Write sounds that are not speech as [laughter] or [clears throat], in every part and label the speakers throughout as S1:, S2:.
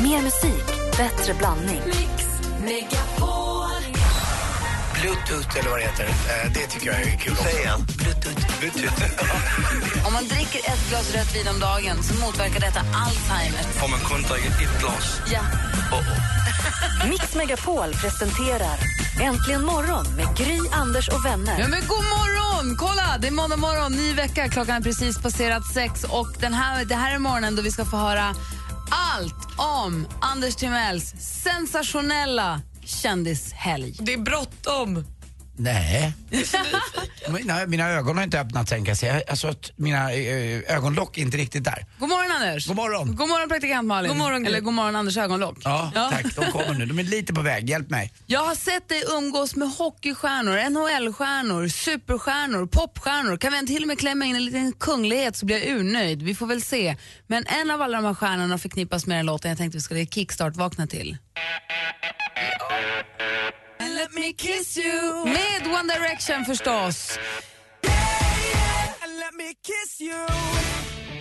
S1: Mer musik, bättre blandning.
S2: Mix Megapol.
S3: Bluetooth eller vad det heter. Eh, Det tycker jag är kul också.
S4: Säg igen.
S3: Bluetooth.
S5: Om man dricker ett glas rött vin om dagen så motverkar detta Alzheimer.
S4: Har man kun dricka ett glas?
S5: Ja.
S1: Mix Megapol presenterar Äntligen morgon med Gry, Anders och
S6: Ja,
S1: vänner.
S6: men god morgon! Kolla, det är måndag morgon, ny vecka. Klockan är precis passerat sex och den här, det här är morgonen då vi ska få höra allt om Anders Timells sensationella kändishelg.
S2: Det är bråttom.
S3: [laughs] Nej. Mina, mina ögon har inte öppnat sen kan jag säga. Alltså att mina eh, ögonlock är inte riktigt där.
S6: God morgon, Anders.
S3: God morgon.
S6: God morgon, praktikant Malin.
S2: God morgon, Gry.
S6: Eller god morgon, Anders ögonlock.
S3: Ja, tack. De kommer nu. De är lite på väg. Hjälp mig.
S6: Jag har sett dig umgås med hockeystjärnor, NHL-stjärnor, superstjärnor, popstjärnor. Kan vi till och med klämma in en liten kunglighet så blir jag urnöjd. Vi får väl se. Men en av alla de här stjärnorna förknippas med den låten jag tänkte vi skulle kickstart-vakna till.
S2: And let me kiss you.
S6: Med One Direction förstås.
S2: And let me kiss you.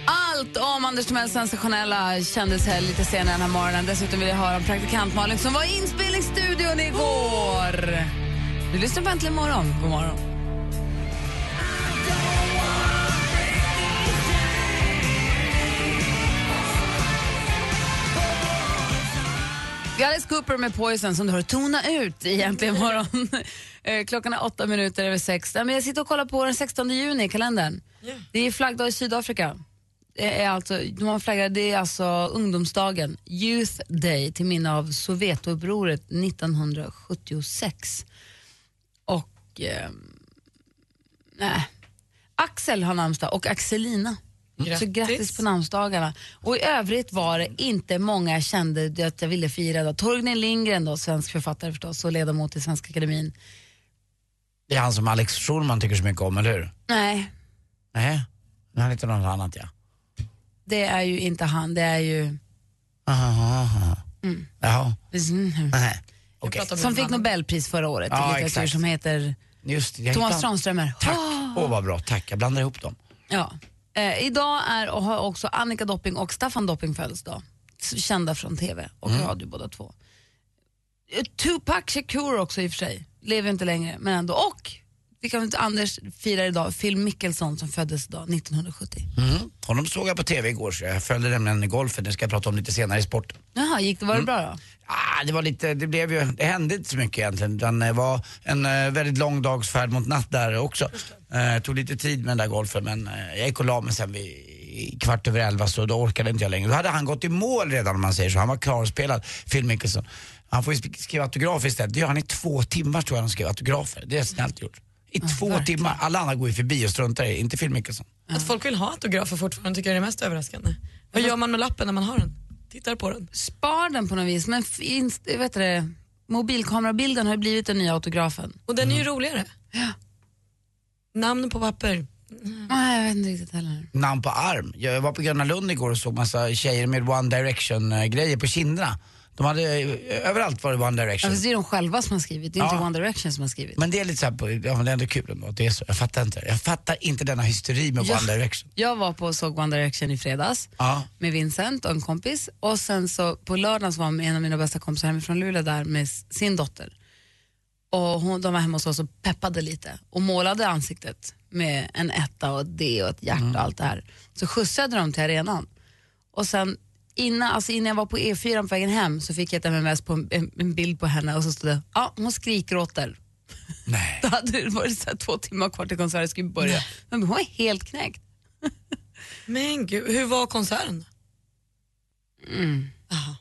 S6: Allt om Anders Timells sensationella kändishelg lite senare den här morgonen. Dessutom vill jag höra om praktikant Malin som var i inspelningsstudion igår. Du lyssnar på Äntligen morgon. God morgon. Alice Cooper med Poison som du har tona ut egentligen imorgon. Eh, Klockan är åtta minuter över sex. Nej, men jag sitter och kollar på den 16 juni i kalendern. Det är flaggdag i Sydafrika. Det är alltså, de har flaggat, det är alltså ungdomsdagen, Youth Day, till minne av Sovetupproret 1976. Och... Eh, nej. Axel har namnsdag och Axelina. Så grattis på namnsdagarna. Och i övrigt var det inte många jag kände att jag ville fira. Då. Torgny Lindgren, då, svensk författare förstås och ledamot i Svenska Akademin.
S3: Det är han som Alex Schulman tycker så mycket om, eller hur?
S6: Nej,
S3: Nej, han är lite något annat ja.
S6: det är ju inte han. Det är ju...
S3: Aha, aha. Jaha, nej. Mm, Okej.
S2: pratar om
S6: Som
S2: en
S6: fick
S2: annan.
S6: Nobelpris förra året
S3: Ja,
S6: i litteratur
S3: exakt.
S6: som heter
S3: Just det. jag
S6: Thomas
S3: hittade-
S6: Tranströmer.
S3: Tack.
S6: Ah,
S3: Åh vad bra, tack. Jag blandar ihop dem.
S6: Ja. Eh, idag är och har också Annika Dopping och Staffan Dopping födelsedag. S- Kända från TV och
S3: Mm.
S6: radio båda två. Eh, Tupac Shakur också i och för sig. Lever inte längre men ändå. Och vi kan, Anders firar idag Phil Mickelson som föddes idag 1970.
S3: Mm. Honom såg jag på TV igår, så jag följde nämligen golfen. Det ska jag prata om lite senare i sporten.
S6: Jaha, gick det,
S3: Mm.
S6: var det bra då?
S3: Ah, det, var lite, det, blev ju, det hände inte så mycket egentligen. utan Det var en eh, väldigt lång dags färd mot natt där också. Eh, tog lite tid med den där golfen men eh, jag gick och la mig sen vid i kvart över elva så då orkade inte jag längre. Då hade han gått i mål redan om man säger så. Han var klarspelad, Phil Mickelson. Han får ju sk- skriva autografer istället. Det gör han i två timmar tror jag han skrev autografer. Det är snällt gjort. I två timmar. Alla andra går ju förbi och struntar i Inte Phil Mickelson.
S2: Att folk vill ha autografer fortfarande tycker jag är det mest överraskande. Vad gör man med lappen när man har den? Tittar på den.
S6: Spar den på något vis men f- inst- vet du det, mobilkamerabilden har ju blivit den nya autografen.
S2: Och den är
S6: Mm.
S2: ju roligare. Namn på papper.
S6: Nej, jag vet inte riktigt heller.
S3: namn på arm. Jag var på Gröna Lund igår och såg massa tjejer med One Direction-grejer på kinderna. De hade, eh, överallt var det One
S6: Ja,
S3: Direction.
S6: fast det är de själva som har skrivit, det är
S3: Ja.
S6: inte One Direction som har skrivit.
S3: Men det är lite såhär, på- ja, men det är ändå kul ändå att det är så. Jag fattar inte. Jag fattar inte denna hysteri med
S6: Ja.
S3: One Direction.
S6: Jag var på och såg One Direction i fredags
S3: Ja.
S6: med Vincent och en kompis och sen så på lördagen så var en av mina bästa kompisar hemifrån Luleå där med s- sin dotter. Och hon, de var hemma hos oss och peppade lite och målade ansiktet med en etta och ett D och ett hjärta och allt det här. Så skjutsade de till arenan. Och sen innan, alltså innan jag var på E4 på vägen hem så fick jag ett MMS på en, en, en bild på henne och så stod det, ja hon skrikgråter. [laughs]
S3: Nej.
S6: Då hade det varit så här två timmar kvar till konserten skulle börja. Men hon är helt knäckt.
S2: Men gud, hur var konserten?
S6: Mm.
S2: Aha.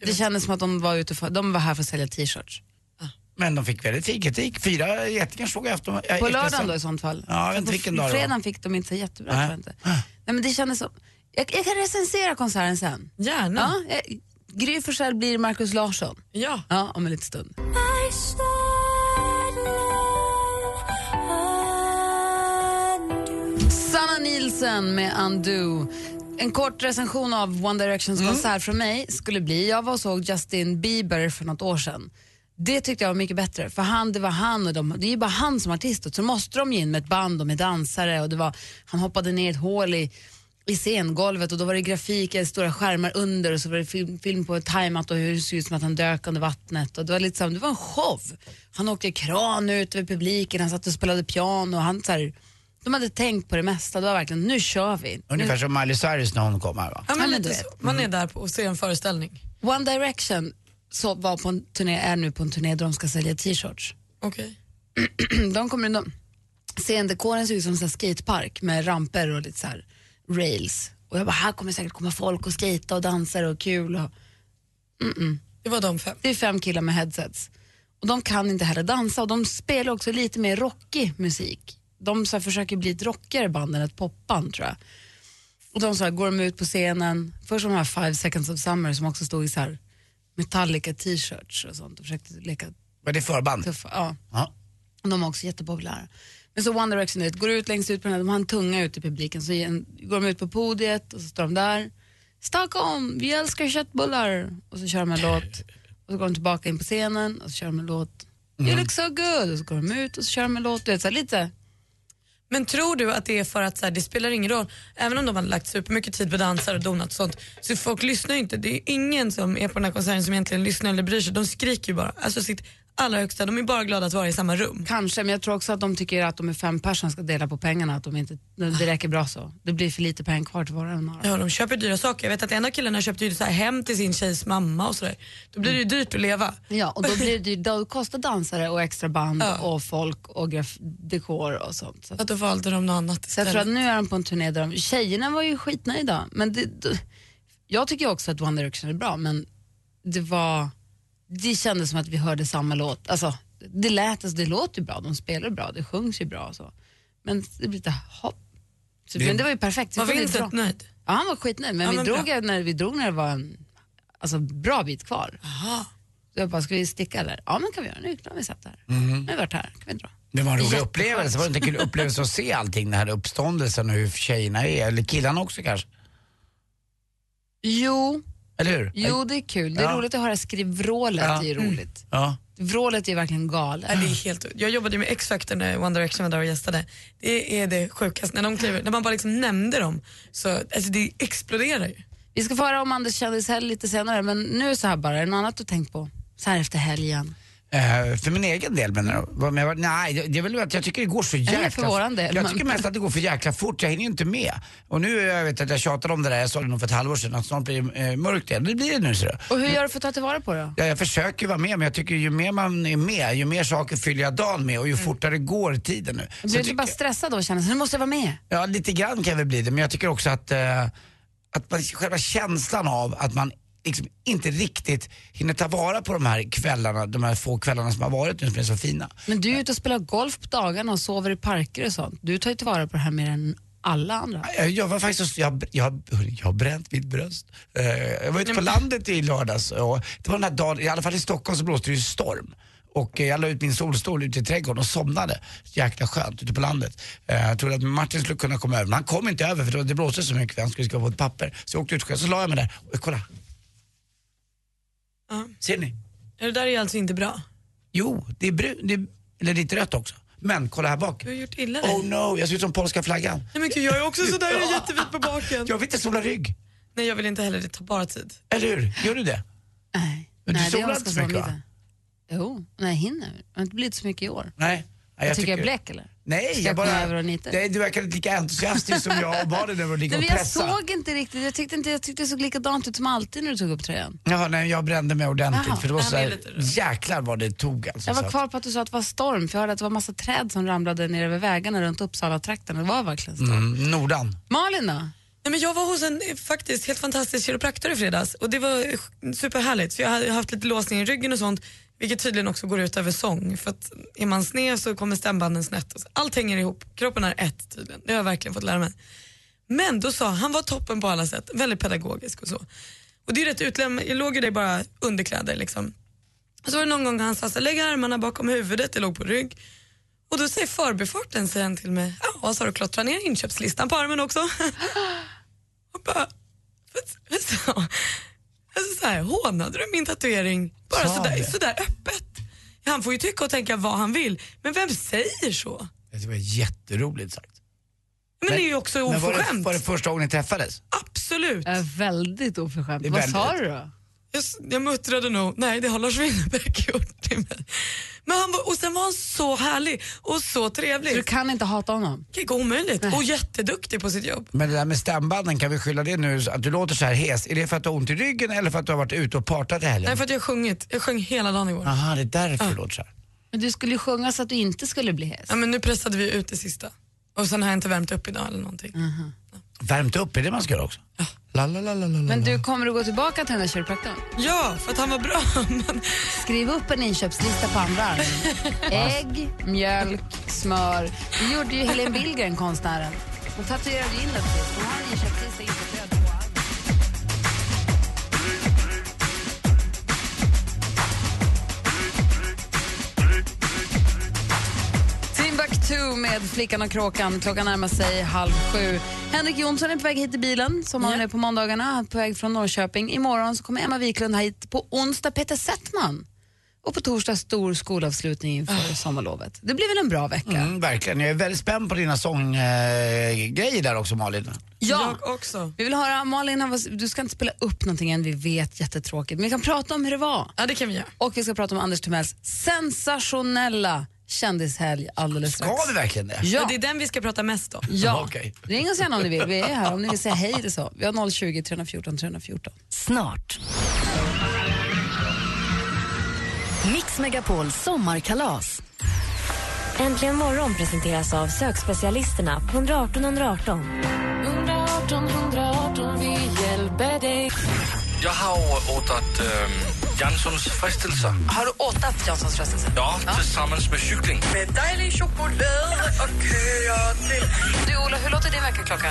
S6: Det kändes som att de var, ute för, de var här för att sälja t-shirts.
S3: Men de fick väldigt fin kritik. Fyra getingar såg jag efter. eh,
S6: På
S3: efter
S6: lördagen
S3: sen.
S6: då i sånt fall.
S3: Ja, jag vet inte
S6: På
S3: vilken dag det var.
S6: Fredagen fick de inte så jättebra
S3: Nej.
S6: tror jag inte. Nej men det kändes som, jag, jag kan recensera konserten sen.
S2: Gärna.
S6: Ja, jag, Gry Forssell blir Markus Larsson.
S2: Ja.
S6: Ja, om en liten stund. Sanna Nielsen med Undo. En kort recension av One Directions konsert från mig skulle bli, jag var och såg Justin Bieber för något år sedan. Det tyckte jag var mycket bättre, för han, det var han och de, det är ju bara han som artist och så måste de ge in med ett band och med dansare och det var, han hoppade ner i ett hål i i scengolvet och då var det grafik, eh, stora skärmar under och så var det film, film på tajmat och hur det såg ut som att han dök under vattnet. Och det, var lite så här, det var en show. Han åkte kran ut över publiken, han satt och spelade piano. Och han, så här, de hade tänkt på det mesta, det var verkligen nu kör vi.
S3: Ungefär som Miley Cyrus när hon kom här va?
S2: Ja,
S6: men
S2: men
S6: du
S2: lite så.
S6: vet. Mm.
S2: Man är där på- och ser en föreställning.
S6: One Direction så var på en turné, är nu på en turné där de ska sälja t-shirts. [clears throat]
S2: Okej.
S6: de kommer de, Scendekoren ser ut som en sån här skatepark med ramper och lite så här rails. Och jag bara, här kommer säkert komma folk och skata och dansa och kul. Och,
S2: Det var de fem.
S6: det är fem killar med headsets. Och de kan inte heller dansa och de spelar också lite mer rockig musik. De så här, försöker bli ett rockigare band än ett popband tror jag. Och de så här, går de ut på scenen, först var de här Five Seconds of Summer som också stod i så här Metallica t-shirts och sånt och försökte leka
S3: Var det förband?
S6: tuffa. Ja.
S3: Ja.
S6: Och de är också jättepopulära. Men så One Direction du vet, går ut längst ut på den här, de har en tunga ute i publiken, så ger en- går de ut på podiet och så står de där. Stockholm, vi älskar köttbullar! Och så kör de en låt. Och så går de tillbaka in på scenen och så kör de en låt. You look so good! Och så går de ut och så kör de en låt. Du vet, så här, lite.
S2: Men tror du att det är för att så här, det spelar ingen roll, även om de har lagt supermycket tid på dansar och donat och sånt, så folk lyssnar ju inte. Det är ingen som är på den här konserten som egentligen lyssnar eller bryr sig. De skriker ju bara. Alltså sitt allra högsta. De är bara glada att vara i samma rum.
S6: Kanske, men jag tror också att de tycker att de är fem personer ska dela på pengarna. Att de inte, det räcker bra så. Det blir för lite pengar kvar till var och en av dem.
S2: Ja, de köper dyra saker. Jag vet att en av killarna köpte ju så här hem till sin tjejs mamma och sådär. Då blir det ju dyrt att leva.
S6: Ja, och då blir det dyrt. Då kostar dansare och extra band
S2: Ja.
S6: och folk och graf- dekor och sånt. Så att
S2: Att då valde de något annat
S6: Så jag tror
S2: istället.
S6: att nu är de på en turné där de, tjejerna var ju skitnöjda. Men det, d- jag tycker också att One Direction är bra, men det var, det kändes som att vi hörde samma låt. Alltså, det lät, alltså, det låter ju bra, de spelar bra, det sjungs ju bra och så. Men det blir lite hopp. Så, men det var ju perfekt. Så
S2: Var
S6: det var
S2: Vincent
S6: bra.
S2: nöjd?
S6: Ja, han var skitnöjd, men,
S2: Ja,
S6: vi,
S2: men
S6: drog
S2: bra.
S6: när, vi drog när det var en alltså, bra bit kvar.
S2: Aha.
S6: Så jag bara, ska vi sticka eller? Ja, men kan vi göra nu? Nu har vi satt här. Nu har vi varit här, kan vi dra?
S3: Det var en rolig
S6: Jätteskönt.
S3: upplevelse. Var det inte en kul upplevelse att se allting, den här uppståndelsen och hur tjejerna är, eller killarna också kanske?
S6: Jo,
S3: Eller hur?
S6: jo det är kul. Det är
S3: Ja.
S6: roligt att höra skrivvrålet,
S3: Ja. Mm.
S6: det är roligt.
S3: Ja.
S6: Vrålet är verkligen galet.
S2: Ja, det är helt, jag jobbade ju med X-Factor när One Direction var där och gästade. Det är det sjukaste. När, de kliver, när man bara liksom nämnde dem, så alltså det exploderar ju.
S6: Vi ska få höra om Anders kändishelg lite senare, men nu så här bara, är det något annat du tänkt på? Så här efter helgen.
S3: Eh, för min egen del menar du? Vad- men jag var- Nej, det- det är väl att jag tycker det går så jäkla...
S6: för våran del,
S3: Jag
S6: men-
S3: tycker mest att det går för jäkla fort, jag hinner ju inte med. Och nu, jag vet att jag tjatade om det där, jag sa det nog för ett halvår sedan, att snart blir det eh, mörkt igen. Det blir det nu ser du.
S6: Och hur gör du för att ta tillvara på det då?
S3: Ja, jag försöker vara med men jag tycker ju mer man är med, ju mer saker fyller jag dagen med och ju
S6: Mm.
S3: fortare går tiden nu. Så
S6: Blir du inte
S3: tycker-
S6: bara stressad då och känner så, nu måste jag vara med?
S3: Ja, lite grann kan jag väl bli det, men jag tycker också att, eh, att man, själva känslan av att man liksom inte riktigt hinner ta vara på de här kvällarna, de här få kvällarna som har varit nu som är så fina.
S6: Men du är ju ute och spelar golf på dagarna och sover i parker och sånt. Du tar ju tillvara på det här mer än alla andra.
S3: Jag- Eh, Jag var faktiskt, jag, jag, jag har bränt mitt bröst. Eh, Jag var ute på landet i lördags och det var den här dagen, i alla fall i Stockholm så blåste det ju storm. Och eh, jag la ut min solstol ute i trädgården och somnade. Jäkla skönt ute på landet. Eh, Jag trodde att Martin skulle kunna komma över men han kom inte över för det var- det blåste så mycket han skulle skriva på ett papper. Så jag åkte ut själv, så la jag mig där och kolla.
S2: Ja.
S3: Ser ni?
S2: Det där är alltså inte bra.
S3: Jo, det är brunt, det är, eller lite rött också. Men kolla här bak.
S2: Du har gjort illa dig.
S3: Oh no, jag ser ut som polska flaggan.
S2: Nej men gud, jag är också sådär, jag är jättevit på baken.
S3: Jag vill inte sola rygg.
S2: Nej jag vill inte heller, det tar bara tid.
S3: Eller hur? Gör du det?
S6: Nej,
S3: Men du
S6: nej det
S3: solar
S6: jag
S3: inte
S6: ska
S3: så
S6: sova
S3: mycket, va?
S6: lite. Jo, nej jag hinner. Det har inte blivit så mycket i år.
S3: Nej. Nej,
S6: Jag tycker jag är blek eller?
S3: Nej,
S6: Ska
S3: jag
S6: jag
S3: bara...
S6: komma över och nita?
S3: Nej, du verkar inte lika entusiastisk som jag och barnen över att ligga
S6: Nej, [laughs]
S3: och
S6: men jag
S3: pressa.
S6: såg inte riktigt, jag tyckte, inte, jag tyckte det såg likadant ut som alltid när du tog upp tröjan.
S3: Jaha, nej, jag brände mig ordentligt
S6: Jaha,
S3: för det var
S2: nej,
S3: så
S2: men
S3: här,
S2: lite då.
S3: jäklar vad det tog alltså.
S6: Jag
S3: så
S6: var
S3: att-
S6: kvar på att du sa att det var storm, för jag hörde att det var massa träd som ramlade ner över vägarna runt Uppsala-trakten. Det var verkligen storm.
S3: Mm, Nordan.
S6: Malin då?
S2: Nej, men jag var hos en eh, faktiskt helt fantastisk kiropraktor i fredags och det var eh, sj- superhärligt för jag hade haft lite låsning i ryggen och sånt vilket tydligen också går ut över sång för att är man sned så kommer stämbanden snett. Och så. Allt hänger ihop, kroppen är ett tydligen. Det har jag verkligen fått lära mig. Men då sa han, han var toppen på alla sätt, väldigt pedagogisk och så. Och det är rätt utlämnande, jag låg ju där i bara underkläder liksom. Och så var det någon gång han sa så här, lägg armarna bakom huvudet, jag låg på rygg. Och då säger förbifarten, säger han till mig, ja, så har du klottrat ner inköpslistan på armen också? [laughs] Och bara, vad- vad sa- alltså så här, hånade du min tatuering bara
S3: Sa han
S2: sådär,
S3: det?
S2: sådär öppet? Han får ju tycka och tänka vad han vill, men vem säger så?
S3: Det var jätteroligt sagt.
S2: Men det är ju också
S3: Men var det,
S2: oförskämt.
S3: var det första gången ni träffades?
S2: Absolut.
S6: Äh, väldigt oförskämt.
S3: Det är
S6: Vad sa du
S3: väldigt.
S6: då?
S2: Jag, s- jag muttrade nog, nej det har Lars Winnerbäck [laughs] gjort till mig. Men han var, och sen var han så härlig och så
S6: Så du
S2: trevlig.
S6: kan inte hata honom?
S2: Det är omöjligt. Och jätteduktig på sitt jobb.
S3: Men det där med stämbanden, kan vi skylla det nu, så att du låter så här hes? Är det för att du har ont i ryggen eller för att du har varit ute och partat i helgen?
S2: Nej för att jag har sjungit, jag sjöng hela dagen igår.
S3: Aha, det är därför du låter så här.
S6: Men du skulle ju sjunga så att du inte skulle bli hes.
S2: Ja, men nu pressade vi ut det sista. Och sen har jag inte värmt upp idag eller någonting.
S3: Värmt upp, är det man ska göra också? La, la, la, la, la, la.
S6: Men du kommer att gå tillbaka till den där kiropraktorn?
S2: Ja, för att han var bra. [laughs] Men
S6: Skriv upp en inköpslista på andra
S3: [laughs]
S6: armen. Ägg, mjölk, smör. Det gjorde ju Helen Billgren, konstnären. Hon tatuerade in det precis. Hon har en inköpslista inpräntad på armen. Timbuktu med Flickan och Kråkan. Klockan närmar sig halv sju. Henrik Jonsson är på väg hit i bilen, som han är på måndagarna. Han är på väg från Norrköping. Imorgon så kommer Emma Wiklund hit. På onsdag Peter Settman. Och på torsdag stor skolavslutning inför sommarlovet. Det blir väl en bra vecka?
S3: Ah. Mm, verkligen, jag är väldigt spänd på dina sånggrejer eh, grejer där också Malin.
S6: Ja!
S2: jag också.
S6: Vi vill höra, Malin, har vad- du ska inte spela upp någonting än, vi vet jättetråkigt. Men vi kan prata om hur det var.
S2: Ja, det kan vi göra.
S6: Och vi ska prata om Anders Timells sensationella kändishelg alldeles
S3: Ska
S6: strax.
S3: vi verkligen det?
S2: Ja.
S6: Ja,
S2: Det är den vi ska prata mest om.
S6: ja.
S3: [laughs] Okej.
S6: ring oss gärna om ni vill. Vi är här om ni vill säga hej eller så. Vi har 020 314 314.
S1: Snart. Mix Megapol sommarkalas.
S7: Äntligen morgon presenteras av sökspecialisterna på 118 118.
S4: Jag har åtat øh, Janssons fristelser.
S5: Har du åtat Janssons frestelse?
S4: Ja, tillsammans med cykling.
S5: Du Ola, hur låter din väckarklocka?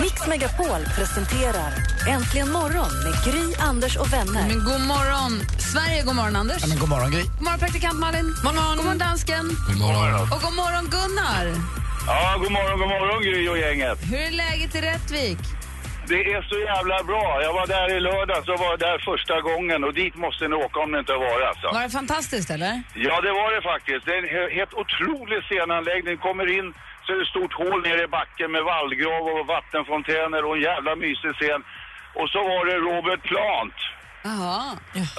S1: Mix Megapol presenterar Äntligen morgon med Gry, Anders och vänner.
S6: Men god morgon, Sverige. God morgon, Anders.
S3: Ja, men god morgon Gry.
S6: God morgon, praktikant Malin. God morgon, god morgon dansken. God morgon. Och god morgon, Gunnar.
S8: Ja, god morgon, god morgon Gry och gänget.
S6: Hur är läget i Rättvik?
S8: Det är så jävla bra. Jag var där i lördags och var där första gången och dit måste ni åka om ni inte har varit alltså.
S6: Var det fantastiskt, eller?
S8: Ja, det var det faktiskt. Det är en he- helt otrolig scenanläggning. Kommer in så är det ett stort hål nere i backen med vallgrav och vattenfontäner och en jävla mysig scen. Och så var det Robert Plant.
S6: Jaha.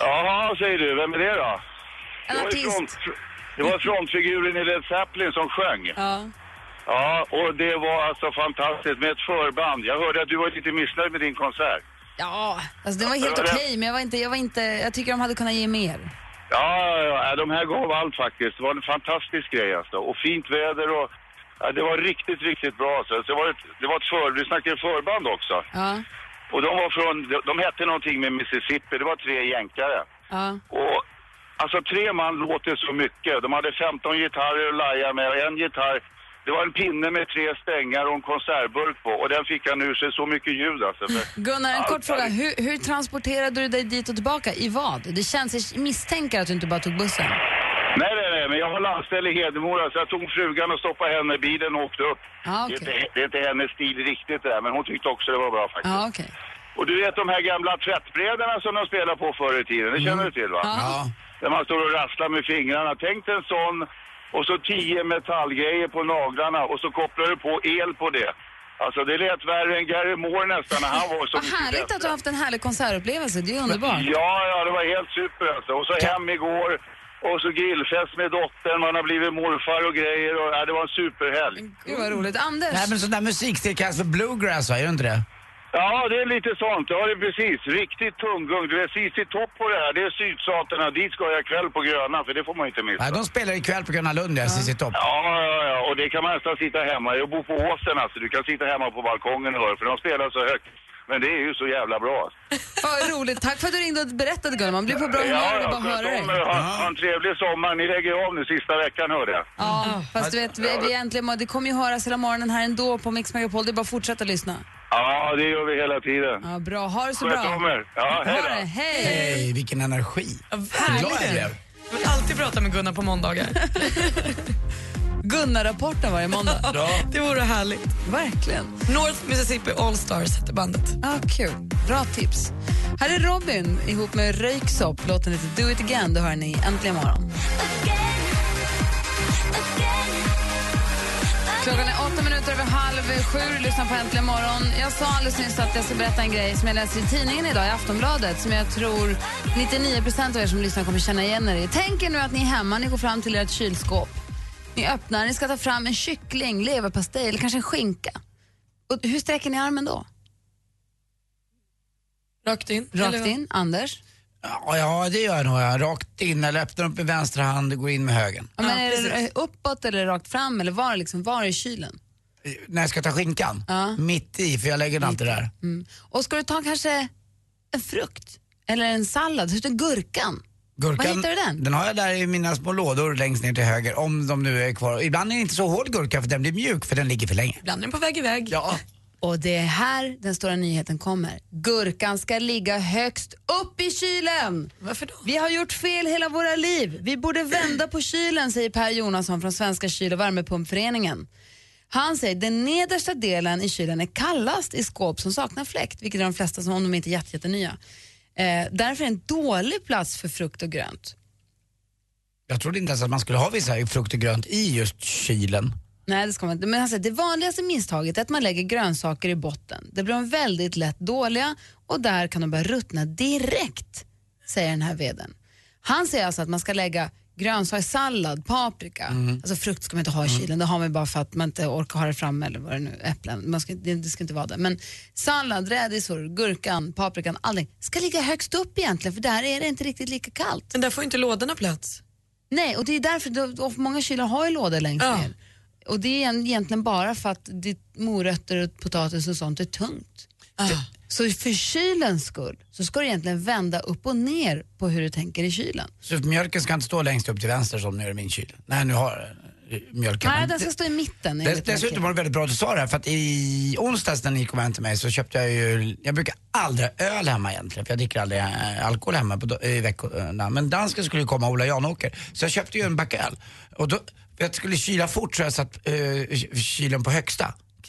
S8: Jaha, säger du. Vem är det då?
S6: En
S8: det, var ju
S6: artist.
S8: front, det var frontfiguren i Led Zeppelin som sjöng.
S6: Ja.
S8: Ja, och det var alltså fantastiskt med ett förband. Jag hörde att du var lite missnöjd med din konsert.
S6: Ja, alltså det var helt
S8: Ja, det-
S6: okej, men jag var inte, jag var inte, jag tycker de hade kunnat ge mer.
S8: Ja, ja, ja, de här gav allt faktiskt. Det var en fantastisk grej alltså. Och fint väder och... Ja, det var riktigt, riktigt bra alltså. Så det var ett, det var ett för, vi snackade förband också.
S6: Ja,
S8: Och de var från... De, de hette någonting med Mississippi. Det var tre jänkare.
S6: ja.
S8: Och alltså tre man låter så mycket. De hade 15 gitarrer att laja med och en gitarr. Det var en pinne med tre strängar och en konservburk på och den fick han ur sig så mycket ljud alltså. För,
S6: [laughs] Gunnar, en
S8: Allt
S6: kort fråga.
S8: är-
S6: Hur, hur transporterade du dig dit och tillbaka? I vad? Det känns, jag misstänker att du inte bara tog bussen.
S8: Nej, nej, nej, men jag har landställe i Hedemora så jag tog frugan och stoppade henne i bilen och åkte upp.
S6: Ja, okej.
S8: det, är inte, det är inte hennes stil riktigt det där, men hon tyckte också det var bra faktiskt.
S6: Ja, okej.
S8: Och du vet de här gamla tvättbrädorna som de spelade på förr i tiden, det känner du till va?
S3: Ja.
S8: Där man står och rasslar med fingrarna. Tänk dig en sån och så tio metallgrejer på naglarna och så kopplar du på el på det. Alltså det lät värre än Gary Moore nästan när han var så
S6: Vad härligt att du har haft en härlig konsertupplevelse. Det är underbart.
S8: Ja, ja, det var helt super alltså. Och så hem igår och så grillfest med dottern, man har blivit morfar och grejer. Och, ja, det var en superhelg.
S6: Gud vad roligt. Anders,
S3: Nej men sån där musikstil kallas för bluegrass va, är det inte det?
S8: Ja, det är lite sånt. Ja, det är precis. Riktigt tunggung. Du är sist i topp på det här. Det är sydstaterna. Dit ska jag ikväll på Gröna, för det får man inte missa.
S3: Nej, de spelar ikväll på Gröna Lund ja, Cissi Topp.
S8: Ja, ja, ja. Och det kan man nästan sitta hemma. Jag bor på Åsen alltså. Du kan sitta hemma på balkongen och höra, för de spelar så högt. Men det är ju så jävla bra.
S6: vad roligt. Tack för att du ringde och berättade Gunnar. Man blir på bra humör
S8: Ja,
S6: av
S8: ja,
S6: att bara höra
S8: sköt om
S6: dig.
S8: er. Ha, ha en trevlig sommar. Ni lägger av nu sista veckan, hörde jag.
S6: Ja, fast du vet, vi, vi äntligen, det kommer ju höras hela morgonen här ändå på Mix Megapol. Det är bara att fortsätta lyssna.
S8: Ja, det gör vi hela tiden.
S6: Ja, bra. Ha det så bra.
S8: Sköt om er. Ja,
S6: Ha
S8: hej
S6: det.
S8: då.
S6: Hej.
S3: Hej, vilken energi.
S2: Ja,
S3: Glad jag
S2: verkligen.
S3: blev.
S2: Jag vill alltid prata med Gunnar på måndagar.
S6: Gunnar-rapporten varje
S3: [laughs]
S6: måndag.
S2: [laughs] Det vore härligt.
S6: Verkligen.
S2: North Mississippi All Stars hette bandet.
S6: Ah, kul. Bra tips. Här är Robin ihop med Röyksopp. Låten heter Do it again. Då hör ni äntligen morgon.
S9: again, again,
S6: Klockan är åtta minuter över halv sju. Lyssna på Äntligen morgon. Jag sa alldeles nyss att jag ska berätta en grej som jag läser i tidningen idag, i Aftonbladet, som jag tror 99 av er som lyssnar kommer känna igen er i. Tänk er nu att ni är hemma, ni går fram till ert kylskåp. Ni öppnar, ni ska ta fram en kyckling, leverpastej eller kanske en skinka. Och hur sträcker ni armen då?
S2: Rakt in.
S6: Rakt
S2: eller-
S6: in, Anders?
S3: Ja, ja, det gör jag nog. ja. Rakt in eller öppnar upp med vänstra hand och går in med högen.
S6: Ja, men är det uppåt eller rakt fram eller var, liksom, var i kylen?
S3: När jag ska ta skinkan?
S6: Ja.
S3: Mitt i, för jag lägger den alltid där.
S6: Mm. Och ska du ta kanske en frukt eller en sallad, hur den gurkan?
S3: Gurkan,
S6: Var hittar du den?
S3: Den har jag där i mina små lådor längst ner till höger, om de nu är kvar. Ibland är det inte så hård gurka för den blir mjuk för den ligger för länge.
S2: Ibland är den på väg iväg.
S3: Ja.
S6: Och det är här den stora nyheten kommer. Gurkan ska ligga högst upp i kylen.
S2: Varför då?
S6: Vi har gjort fel hela våra liv. Vi borde vända på kylen, säger Per Jonasson från Svenska kyl och värmepumpföreningen. Han säger den nedersta delen i kylen är kallast i skåp som saknar fläkt, vilket är de flesta som om de inte är jätte, jättenya. Eh, därför är det en dålig plats för frukt och grönt.
S3: Jag trodde inte ens att man skulle ha vissa frukt och grönt i just kylen.
S6: Nej, det ska man inte. Men han säger, det vanligaste misstaget är att man lägger grönsaker i botten. Det blir de väldigt lätt dåliga och där kan de börja ruttna direkt, säger den här veden. Han säger alltså att man ska lägga grönsaker, sallad, paprika. Alltså frukt ska man inte ha i kylen, det har man ju bara för att man inte orkar ha det framme eller vad det nu är, äpplen. Man ska, det, det ska inte vara där. Men sallad, rädisor, gurkan, paprikan, allting ska ligga högst upp egentligen för där är det inte riktigt lika kallt.
S2: Men där får inte lådorna plats.
S6: Nej, och det är därför då- och många kylar har ju lådor längst
S2: Ja.
S6: ner. Och det är en- egentligen bara för att ditt morötter och potatis och sånt är tungt. Så för kylens skull så ska du egentligen vända upp och ner på hur du tänker i kylen.
S3: Så mjölken ska inte stå längst upp till vänster som nu är i min kyl. Nej, nu har eh, mjölken.
S6: Nej,
S3: Men
S6: den ska stå i mitten.
S3: Dess,
S6: enligt
S3: dessutom var
S6: verket.
S3: det väldigt bra att du sa det här, för att i onsdags när ni kom hem till mig så köpte jag ju, jag brukar aldrig ha öl hemma egentligen, för jag dricker aldrig eh, alkohol hemma på, do- i veckorna. Men dansken skulle ju komma, Ola Janåker, så jag köpte ju en backöl. Och då, för att jag skulle kyla fort så har jag satt eh, kylen på högsta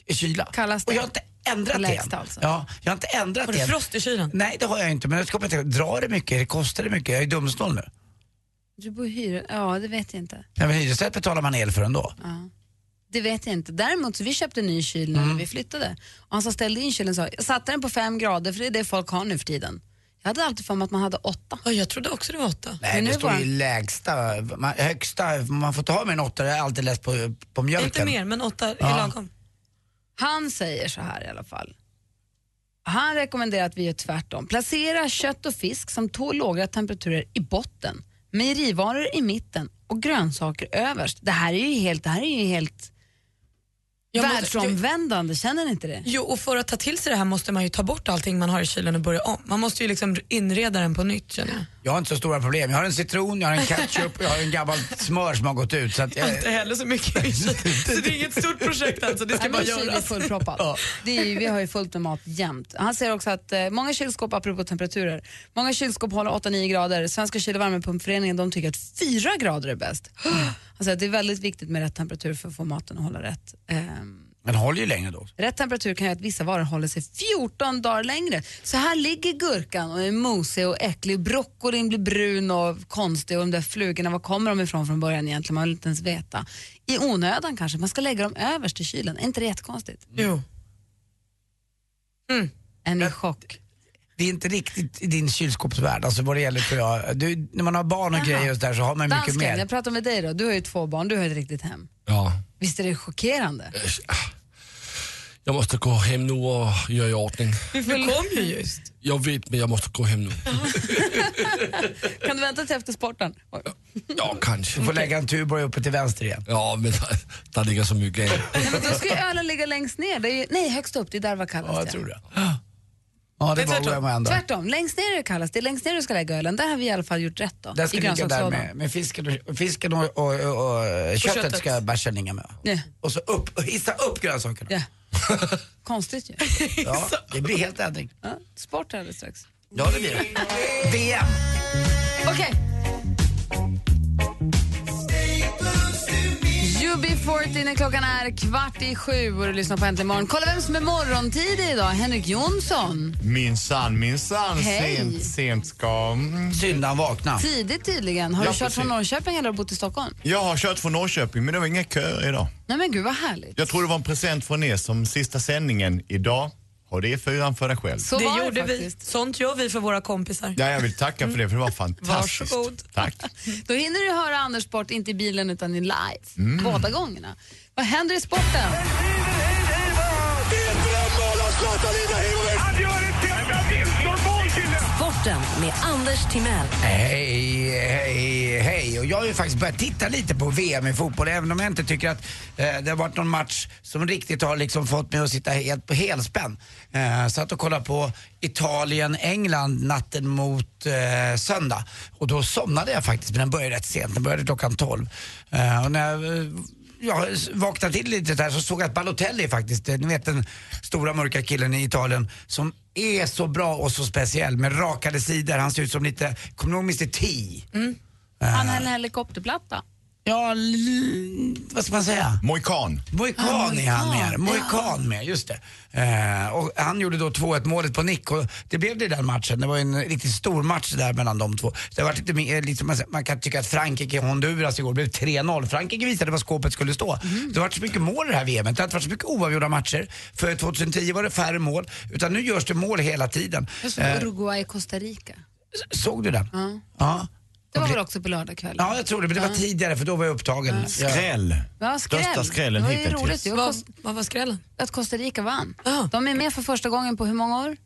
S3: k- kyla.
S6: Kallas det?
S3: Och jag har inte ändrat
S6: På
S3: det än.
S6: lägsta alltså?
S3: Ja, jag har inte ändrat
S2: Har
S3: det
S2: du
S3: än.
S2: frost i kylen?
S3: Nej, det har jag inte, men jag ska komma till, drar det mycket? Det kostar det mycket? Jag är dumsnål nu.
S6: Du bor i hyra... Ja, det vet jag inte.
S3: Nej, men hyresrätt betalar man el för ändå.
S6: Ja. Det vet jag inte. Däremot så vi köpte en ny kyl när vi flyttade. Och han som ställde in kylen sa, jag satte den på fem grader för det är det folk har nu för tiden. Jag hade alltid för mig att man hade åtta.
S2: Ja, jag trodde också det var åtta.
S3: Nej,
S6: Men
S3: det
S6: nu
S3: står
S6: var-
S3: ju lägsta, man, högsta, man får ta med en åtta, det har jag alltid läst på, på mjölken.
S2: Inte mer, men åtta är
S3: Ja.
S2: lagom.
S6: Han säger så här i alla fall. Han rekommenderar att vi gör tvärtom. Placera kött och fisk som tål låga temperaturer i botten, mejerivaror i mitten och grönsaker överst. Det här är ju helt, det här är ju helt
S2: Jag måste-
S6: världsomvändande, känner ni inte det?
S2: Jo, och för att ta till sig det här måste man ju ta bort allting man har i kylen och börja om. Man måste ju liksom inreda den på nytt känner jag.
S3: Jag har inte så stora problem. Jag har en citron, jag har en ketchup och jag har
S6: [laughs]
S3: en gammalt smör som har gått ut. Så att jag,
S2: Inte heller så mycket i kylen. Så det är inget stort projekt alltså, det ska
S6: Nej,
S2: bara
S6: min kyl är
S2: göras.
S6: fullproppad. det är, ju- vi har ju fullt med mat jämt. Han säger också att eh, många kylskåp, apropå temperaturer, många kylskåp håller 8-9 grader. Svenska kyl och värmepumpföreningen de tycker att 4 grader är bäst. Han säger att det är väldigt viktigt med rätt temperatur för att få maten att hålla rätt. Ehm,
S3: den håller ju länge då.
S6: Rätt temperatur kan göra att vissa varor håller sig 14 dagar längre. Så här ligger gurkan och är mosig och äcklig. Broccolin blir brun och konstig och de där flugorna, var kommer de ifrån från början egentligen? Man vill inte ens veta. I onödan kanske, man ska lägga dem överst i kylen. Är inte det jättekonstigt?
S2: Jo.
S6: Är ni i chock?
S3: Det är inte riktigt i din kylskåpsvärld, alltså vad det gäller tror jag. Du, när man har barn och grejer och så där så har man mycket
S6: Dansken,
S3: mer.
S6: jag pratar med dig då. Du har ju två barn, du har ett riktigt hem.
S4: Ja.
S6: Visst är det chockerande?
S4: Jag måste gå hem nu och göra i ordning.
S2: Du kom ju just.
S4: Jag vet, men jag måste gå hem nu.
S6: Kan du vänta till efter sporten? Oj.
S4: Ja, kanske.
S3: Du får lägga en Tuborg uppe till vänster igen.
S4: Ja, men där, där ligger så mycket av.
S6: Nej, men då ska ju ölen ligga längst ner. Det är ju, nej, högst upp. Det är där vad kallas
S3: Ja, jag
S6: det.
S3: tror det. Ja, det
S2: är
S3: var
S2: tvärtom.
S3: OM ändå.
S6: Tvärtom, längst ner är det kallast. Det är längst ner du ska lägga ölen. Där har vi i alla fall gjort rätt då.
S3: Den
S6: I
S3: ska ligga där
S6: grönsakslådan.
S3: med, med fisken och, och fisken och, och, och, och, köttet,
S2: köttet.
S3: ska bärsen ligga med.
S6: Ja.
S3: Och så upp, hissa upp grönsakerna.
S6: Ja. Konstigt ju.
S3: Ja, det blir helt ändring.
S6: Ja, sport alldeles strax.
S3: Ja, det blir det. VM.
S6: Okej. Okay. 8.40 när klockan är kvart i sju och du lyssnar på Äntligen morgon. Kolla vem som är morgontidig idag. Henrik Jonsson.
S9: Minsann, minsann.
S6: Hej.
S9: Sent, sent ska... Mm.
S3: Syndan vakna.
S6: Tidigt tydligen. Har
S9: Ja,
S6: du kört från
S9: precis.
S6: Norrköping eller har du bott i Stockholm?
S9: Jag har kört från Norrköping men det var inga köer idag.
S6: Nej men gud vad härligt.
S9: Jag tror det var en present från er som sista sändningen idag. Har det fyran för dig själv.
S6: Så var
S2: det
S6: det
S2: gjorde vi.
S6: faktiskt.
S2: Sånt gör vi för våra kompisar.
S9: Ja, jag vill tacka för det för det var fantastiskt.
S2: Varsågod.
S9: Tack.
S6: Då hinner du höra Anders sport, inte i bilen utan i live. Båda gångerna. Vad händer i sporten?
S1: Sporten med Anders Timell.
S3: Hej, hej, hej. Och jag har ju faktiskt börjat titta lite på VM i fotboll, även om jag inte tycker att eh, det har varit någon match som riktigt har liksom fått mig att sitta helt på helspänn. Eh, satt och kollade på Italien-England natten mot eh, söndag. Och då somnade jag faktiskt, men den började rätt sent. Den började klockan 12. Eh, och när jag, eh, jag vaknade till lite där så såg jag att Balotelli faktiskt, eh, ni vet den stora mörka killen i Italien som är så bra och så speciell med rakade sidor. Han ser ut som lite, kommer ni ihåg Mr T?
S6: Han har en helikopterplatta.
S3: Ja, l- vad ska man säga?
S9: Moikan.
S3: Moikan är han med. Moikan med, just det. Eh, och han gjorde då 2-1 målet på nick och det blev det i den matchen. Det var ju en riktigt stor match där mellan de två. Det var lite, mer- lite, man- man kan tycka att Frankrike-Honduras igår blev 3-0. Frankrike visade var skåpet skulle stå. Det har varit så mycket mål i det här VMet. Det har inte varit så mycket oavgjorda matcher. För 2010 var det färre mål. Utan nu görs det mål hela tiden.
S6: Jag såg
S3: Eh,
S6: Uruguay, Costa Rica.
S3: såg du den? Ja.
S6: Det var väl också på lördagskvällen?
S3: Ja, jag tror det. Men det var tidigare för då var jag upptagen. Ja.
S9: Skräll.
S6: Ja, skräll.
S9: Största
S6: det
S9: skrällen
S6: var ju
S9: hittills.
S6: roligt. Det var
S2: Vad,
S6: Kos-
S2: vad var skrällen?
S6: att Costa Rica vann.
S2: Ja.
S6: De är med för första gången på hur många år? Är det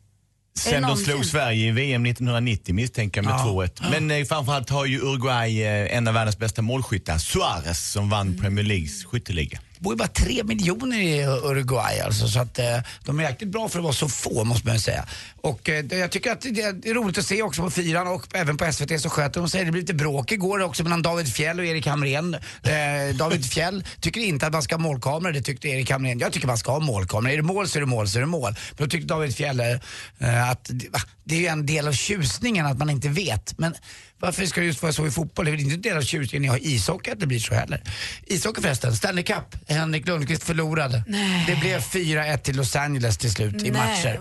S9: Sen de
S6: någonsin?
S9: slog Sverige i VM 1990 misstänker jag med
S3: Ja.
S9: 2-1. Men eh, framförallt har ju Uruguay eh, en av världens bästa målskyttar, Suarez, som vann Premier Leagues skytteliga.
S3: Det bor ju bara tre miljoner i Uruguay alltså, så att eh, de är jäkligt bra för att vara så få måste man ju säga. Och eh, det- jag tycker att det det är roligt att se också på fyran och även på SVT så sköter de sig. Det blev lite bråk igår också mellan David Fjell och Erik Hamrén. Eh, David Fjell tycker inte att man ska ha målkameror, det tyckte Erik Hamrén. Jag tycker man ska ha målkameror. Är det mål så är det mål så är det mål. Men då tyckte David Fjell eh, att det- va, det är ju en del av tjusningen att man inte vet. Men varför ska det just vara så i fotboll? Det är väl inte en del av tjusningen i ha ishockey att det blir så heller. Ishockey förresten, Stanley Cup. Henrik Lundqvist förlorade. Det blev 4-1 till Los Angeles till slut i matcher.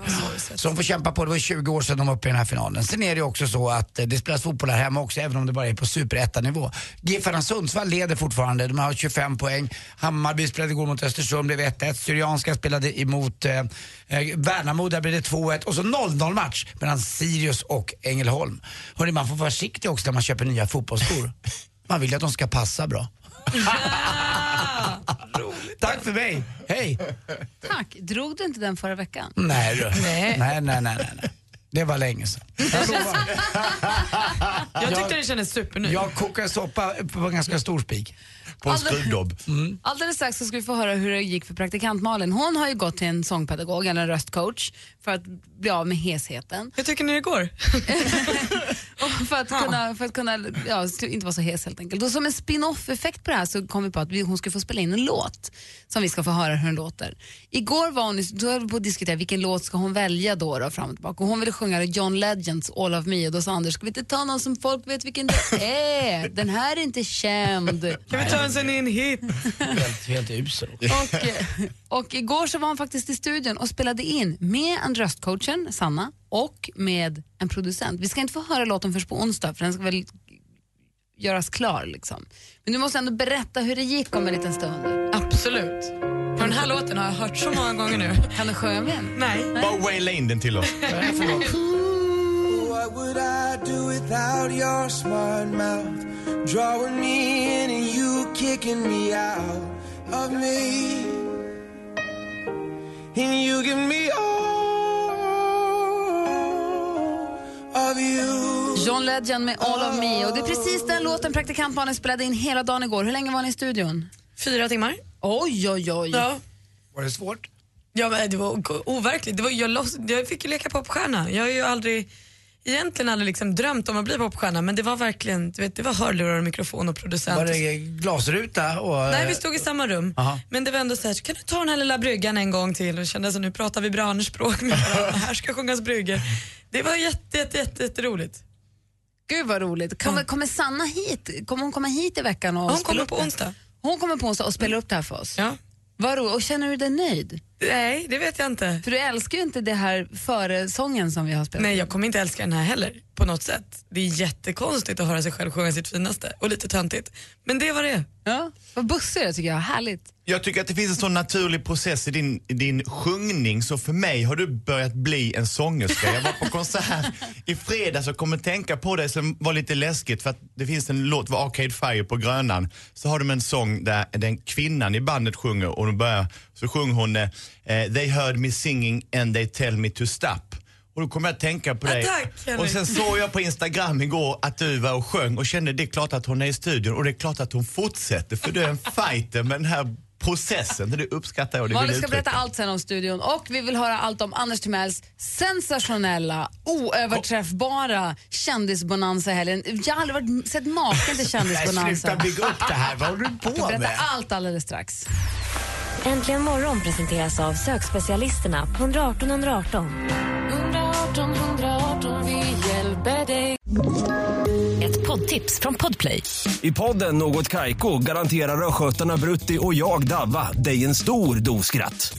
S3: Så de får kämpa på. Det var 20 år sedan de var uppe i den här finalen. Sen är det ju också så att eh, det spelas fotboll här hemma också, även om det bara är på superettanivå. GIFarna Sundsvall leder fortfarande. De har 25 poäng. Hammarby spelade igår mot Östersund, blev 1-1. Syrianska spelade emot eh, eh, Värnamo, där blev det 2-1. Och så 0-0 match mellan Sirius och Ängelholm. Hörrni, man får vara försiktig också när man köper nya fotbollsskor. Man vill ju att de ska passa bra. Tack för mig. Hej!
S6: Tack. Drog du inte den förra veckan?
S3: Nej du. Nej, nej, nej, nej. nej. Det var länge sedan. Jag lovar.
S2: Jag tyckte det kändes supernytt.
S3: Jag kokar soppa på en ganska stor spik.
S9: På en
S6: Alldeles-
S9: skruvdobb.
S6: Alldeles strax så ska vi få höra hur det gick för praktikant Malin. Hon har ju gått till en sångpedagog eller en röstcoach för att bli av med hesheten.
S2: Hur tycker ni det går?
S6: Och [laughs] för att kunna, för att kunna ja, inte vara så hes helt enkelt. Och som en spin-off-effekt på det här så kom vi på att vi, hon skulle få spela in en låt som vi ska få höra hur den låter. Igår var hon, i- då höll vi på att diskutera vilken låt ska hon välja då, då fram och tillbaka. Och hon ville sjunga John Legends All of Me och då sa Anders, ska vi inte ta någon som folk vet vilken det är? Den här är inte känd.
S2: Kan vi ta en sån in hit?
S3: Helt, helt usel.
S6: Och, eh, och igår så var han faktiskt i studion och spelade in med en röstcoachen, Sanna, och med en producent. Vi ska inte få höra låten först på onsdag för den ska väl göras klar. Liksom. Men du måste ändå berätta hur det gick om en liten stund.
S2: Absolut. För den här låten har jag hört så många gånger nu.
S6: Kan du sjunga med? den?
S2: Nej.
S9: Bara waila in den till oss.
S10: What would I do without your smart mouth? Drawing me in and you kicking me out of me. And you give me all of you.
S6: John Legend med All of Me. Och det är precis den låten praktikantbarnen spelade in hela dagen igår. Hur länge var ni i studion?
S2: Fyra timmar.
S6: Oj, oj, oj.
S2: Ja.
S3: Var det svårt?
S2: Ja, men det var o- overkligt. Det var, jag, loss, jag fick ju leka popstjärna. Jag har ju aldrig, egentligen aldrig liksom drömt om att bli popstjärna men det var verkligen, du vet, det var hörlurar och mikrofon och producent.
S3: Var
S2: och så-
S3: det glasruta? Och,
S2: Nej, vi stod i samma rum.
S3: Aha.
S2: Men det var ändå så här, kan du ta den här lilla bryggan en gång till? Och kände så nu pratar vi branschspråk med varandra. Här ska sjungas bryggor. Det var jätte, jätte, jätte, jätteroligt.
S6: Gud vad roligt. Kommer, kommer Sanna hit? Kommer hon komma hit i veckan? Och
S2: Hon
S6: spela
S2: kommer
S6: upp
S2: på
S6: det?
S2: onsdag.
S6: Hon kommer på oss och spelar upp det här för oss.
S2: Ja.
S6: Vad roligt. Och känner du dig nöjd?
S2: Nej, det vet jag inte.
S6: För du älskar ju inte det här före sången som vi har spelat.
S2: Nej, jag kommer inte älska den här heller på något sätt. Det är jättekonstigt att höra sig själv sjunga sitt finaste och lite töntigt. Men det var det.
S6: Ja, vad bussig jag tycker jag. Härligt.
S9: Jag tycker att det finns en sån naturlig process i din, i din sjungning så för mig har du börjat bli en sångerska. Jag var på konsert i fredags och kom att tänka på dig som var lite läskigt för att det finns en låt, var Arcade Fire på Grönan, så har de en sång där den kvinnan i bandet sjunger och de börjar, så sjunger hon eh, They heard me singing and they tell me to stop. Och då kom jag att tänka på dig.
S2: tack, Henrik.
S9: och sen såg jag på Instagram igår att du var och sjöng och kände det är klart att hon är i studion och det är klart att hon fortsätter för du är en fighter med den här processen. Det uppskattar jag och det vill
S6: Malin
S9: jag
S6: ska
S9: uttrycka.
S6: berätta allt sen om studion och vi vill höra allt om Anders Timells sensationella, oöverträffbara kändisbonanza i helgen. Jag har aldrig varit, sett maken till
S3: [laughs] Nej,
S6: kändisbonanza.
S3: sluta bygga upp det här. Vad håller du
S6: Jag
S3: på med?
S6: berättar allt alldeles strax.
S7: Äntligen morgon presenteras av sökspecialisterna på 118 118. Ett poddtips från Podplay.
S11: I podden Något Kaiko garanterar östgötarna Brutti och jag, Davva, dig en stor dos skratt.